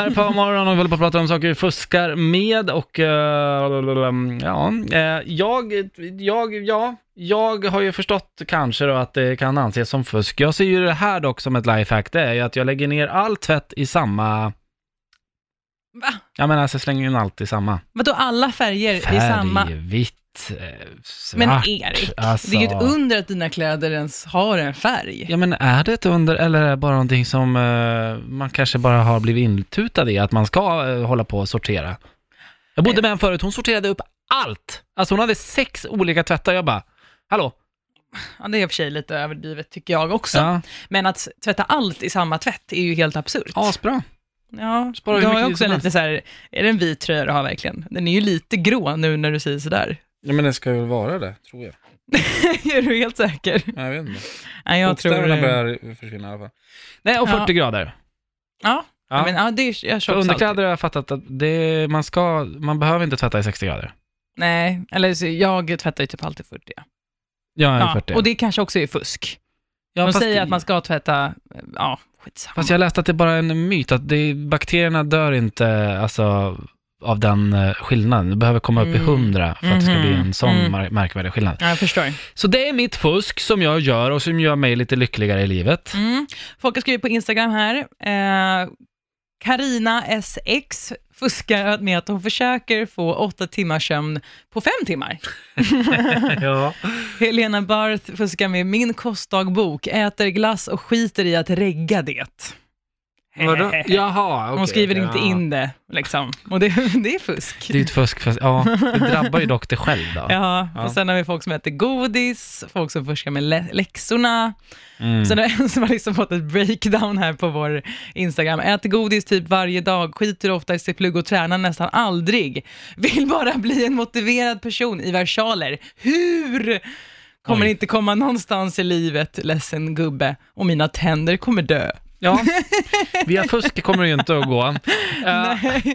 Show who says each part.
Speaker 1: Här på morgonen och vi håller på att prata om saker vi fuskar med och eh, ja, eh, jag, jag, ja, jag har ju förstått kanske då att det kan anses som fusk. Jag ser ju det här dock som ett lifehack, det är ju att jag lägger ner all tvätt i samma,
Speaker 2: Va?
Speaker 1: ja men alltså jag slänger in allt i samma.
Speaker 2: Vadå alla färger i samma?
Speaker 1: vitt, eh, svart.
Speaker 2: Men Erik,
Speaker 1: alltså.
Speaker 2: det är ju ett under att dina kläder ens har en färg.
Speaker 1: Ja men är det ett under eller är det bara någonting som eh, man kanske bara har blivit intutad i att man ska eh, hålla på och sortera? Jag bodde med en förut, hon sorterade upp allt! Alltså hon hade sex olika tvättar, jag bara, hallå?
Speaker 2: Ja, det är i och för sig lite överdrivet tycker jag också.
Speaker 1: Ja,
Speaker 2: Men att tvätta allt i samma tvätt är ju helt absurt.
Speaker 1: asbra.
Speaker 2: Ja,
Speaker 1: Sparar hur
Speaker 2: då har
Speaker 1: mycket
Speaker 2: jag
Speaker 1: som
Speaker 2: också
Speaker 1: helst.
Speaker 2: lite så här, är det en vit tröja du har verkligen? Den är ju lite grå nu när du säger sådär.
Speaker 1: Ja men det ska väl vara det, tror jag.
Speaker 2: är du helt säker?
Speaker 1: Jag vet inte.
Speaker 2: Nej, jag tror...
Speaker 1: börjar försvinna i alla fall. Nej, och
Speaker 2: Ja.
Speaker 1: 40 grader.
Speaker 2: Ja,
Speaker 1: Ja.
Speaker 2: men ja, det är, jag
Speaker 1: För
Speaker 2: köper
Speaker 1: underkläder har jag fattat att det, man, ska, man behöver inte tvätta i 60 grader.
Speaker 2: Nej, eller så, jag tvättar ju typ alltid 40.
Speaker 1: Ja, i
Speaker 2: Ja,
Speaker 1: 40.
Speaker 2: och det kanske också är fusk.
Speaker 1: ja,
Speaker 2: De
Speaker 1: fast-
Speaker 2: säger att man ska tvätta, ja, skitsamma.
Speaker 1: Fast jag läste att det är bara en myt, att det, bakterierna dör inte alltså, av den eh, skillnaden. Det behöver komma upp i
Speaker 2: Mm.
Speaker 1: hundra för att det ska bli en sån
Speaker 2: Mhm. Mm.
Speaker 1: mar- märkvärdig skillnad.
Speaker 2: Ja, jag förstår.
Speaker 1: Så det är mitt fusk som jag gör och som gör mig lite lyckligare i livet.
Speaker 2: Mm. Folk har skrivit på Instagram här, eh, Karina SX fuskar med att hon försöker få åtta timmars sömn på fem timmar.
Speaker 1: ja.
Speaker 2: Helena Barth fuskar med min kostdagbok, äter glass och skiter i att regga det.
Speaker 1: Jaha, okej.
Speaker 2: Hon skriver
Speaker 1: ja.
Speaker 2: inte in det, liksom. Och det, det är fusk.
Speaker 1: Det är ett fusk, fast, ja, det drabbar ju dock det själv då.
Speaker 2: Ja,
Speaker 1: Ja.
Speaker 2: och sen har vi folk som äter godis, folk som fuskar med lä- läxorna.
Speaker 1: Mm.
Speaker 2: Sen har vi en som har liksom fått ett breakdown här på vår Instagram. Äter godis typ varje dag, skiter ofta i sitt plugg och tränar nästan aldrig. Vill bara bli en motiverad person i versaler. Hur? Kommer
Speaker 1: Oj.
Speaker 2: inte komma någonstans i livet, ledsen gubbe. Och mina tänder kommer dö.
Speaker 1: ja. Via fusk kommer det ju inte att gå. Eh,
Speaker 2: Nej.